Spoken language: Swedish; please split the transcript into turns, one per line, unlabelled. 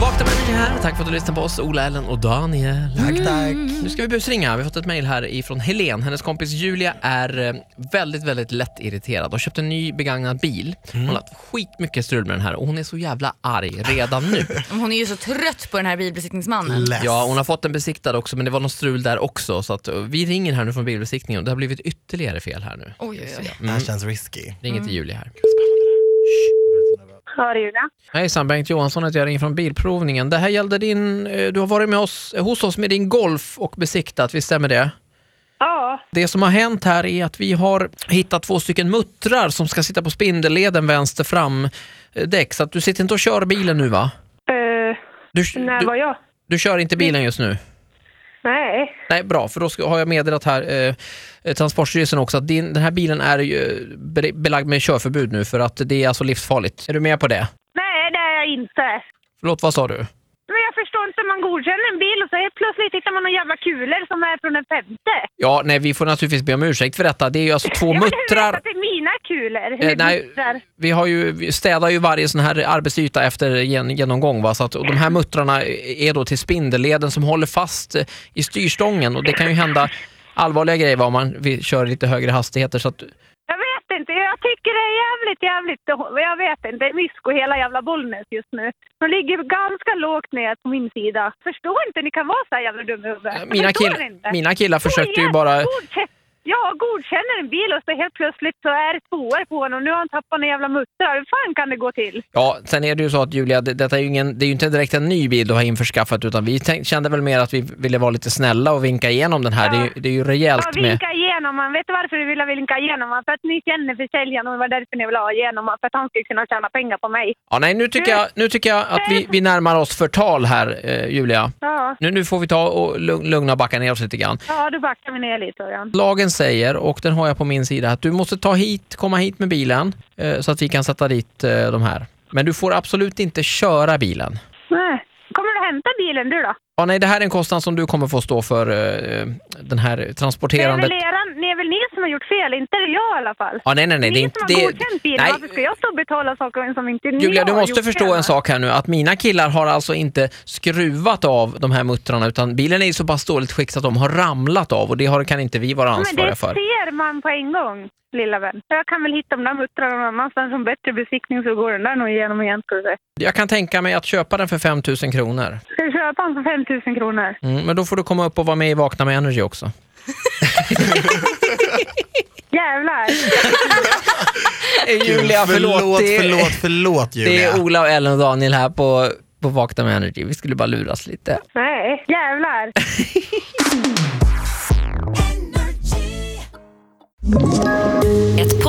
Vakna med mig här. Tack för att du lyssnar på oss, Ola, Ellen och Daniel.
Tack, tack.
Nu ska vi busringa. Vi har fått ett mejl här ifrån Helen. Hennes kompis Julia är eh, väldigt, väldigt lättirriterad. Hon köpte en ny begagnad bil. Hon har haft skitmycket strul med den här och hon är så jävla arg redan nu.
Hon är ju så trött på den här bilbesiktningsmannen.
Less.
Ja, hon har fått den besiktad också men det var något strul där också. Så att, eh, vi ringer här nu från bilbesiktningen och det har blivit ytterligare fel här nu.
Oj, oj, oj.
Det här känns risky.
Ringer till Julia här.
Hör Julia?
Hejsan, Bengt Johansson heter jag, ringer från Bilprovningen. Det här gällde din, eh, du har varit med oss, eh, hos oss med din Golf och besiktat, visst stämmer det?
Ja,
Det som har hänt här är att vi har hittat två stycken muttrar som ska sitta på spindelleden vänster fram eh, däck. Så att du sitter inte och kör bilen nu va?
eh,
Du,
när var
du,
jag?
du kör inte bilen just nu?
Nej,
Nej, bra, för då ska, har jag meddelat här eh, eh, Transportstyrelsen också att din, den här bilen är ju be- belagd med körförbud nu för att det är alltså livsfarligt. Är du med på det?
nej det är jag inte.
Förlåt, vad sa du?
Men jag förstår inte, man godkänner en bil och så helt plötsligt hittar man några jävla kulor som är från en femte.
Ja, nej, vi får naturligtvis be om ursäkt för detta. Det är ju alltså två
Ja, men hur vet jag
muttrar.
att det är mina kulor?
Eh,
Hur
nej.
muttrar?
Vi, har ju, vi städar ju varje sån här arbetsyta efter gen, genomgång. Va? Så att, och de här muttrarna är då till spindelleden som håller fast eh, i styrstången och det kan ju hända allvarliga grejer va, om man vi, kör lite högre hastigheter. Så att,
Jag vet inte, jag tycker det är jävligt, jävligt... Jag vet inte, mysko hela jävla Bollnäs just nu. De ligger ganska lågt ner på min sida. Förstår inte, ni kan vara så här jävla dumma i huvudet. Jag
eh, mina,
förstår
kill,
inte.
mina killar försökte ju
igen,
bara...
godkä- Ja, godkänner en bil och så helt plötsligt så är det tvåor på honom och nu har han tappat en jävla mutter. Hur fan kan det gå till?
Ja, sen är det ju så att Julia, det, detta är ju, ingen, det är ju inte direkt en ny bil du har införskaffat utan vi tänk, kände väl mer att vi ville vara lite snälla och vinka igenom den här. Det, är, ju- det är ju
Jag
rejält med...
vinkar igenom han. Vet du varför du ville vinka igenom han? För att ni känner försäljaren och det var därför ni ville ha igenom han. För att han skulle kunna tjäna pengar på mig.
Ja, nej, nu tycker jag, nu tycker jag att
Eh.
vi, vi närmar oss förtal här, eh, Julia.
Ja,
Nu, nu får vi ta och lug- lugna och backa ner oss lite grann.
ja då backar vi ner lite. Örjan.
Lagen säger, och den har jag på min sida, att du måste ta hit, komma hit med bilen eh, så att vi kan sätta dit eh, de här. Men du får absolut inte köra bilen.
Nej. Kommer du hämta bilen du då?
Ja, nej, det här är en kostnad som du kommer få stå för, eh, den här
Det är,
transporterandet.
väl eran, det är väl ni som har gjort fel, inte jag i alla fall.
Ja, nej, nej, nej.
ni
Det är inte,
som har
det,
godkänt bilen,
nej,
varför ska jag stå och betala saker som inte ni
Julia, du
har
måste
gjort
förstå
själva?
en sak här nu, att mina killar har alltså inte skruvat av de här muttrarna utan bilen är i så pass dåligt skick så att de har ramlat av och det har, kan inte vi vara
Men det
ansvariga för.
ser man på en gång, lilla vän. Jag kan väl hitta de där muttrarna någon annanstans som bättre besiktning så går den där nog igenom igen skulle jag säga.
Jag kan tänka mig att köpa den för 5 000 kronor.
Ska du köpa den för 5 000 kronor?
Mm, men då får du komma upp och vara med i Vakna med Energy också.
Jävlar!
Julia, förlåt.
förlåt,
Det är,
förlåt, förlåt
det
Julia.
är Ola och Ellen och Daniel här på, på Vakna med Energy. Vi skulle bara luras lite.
Nej, jävlar!
Ett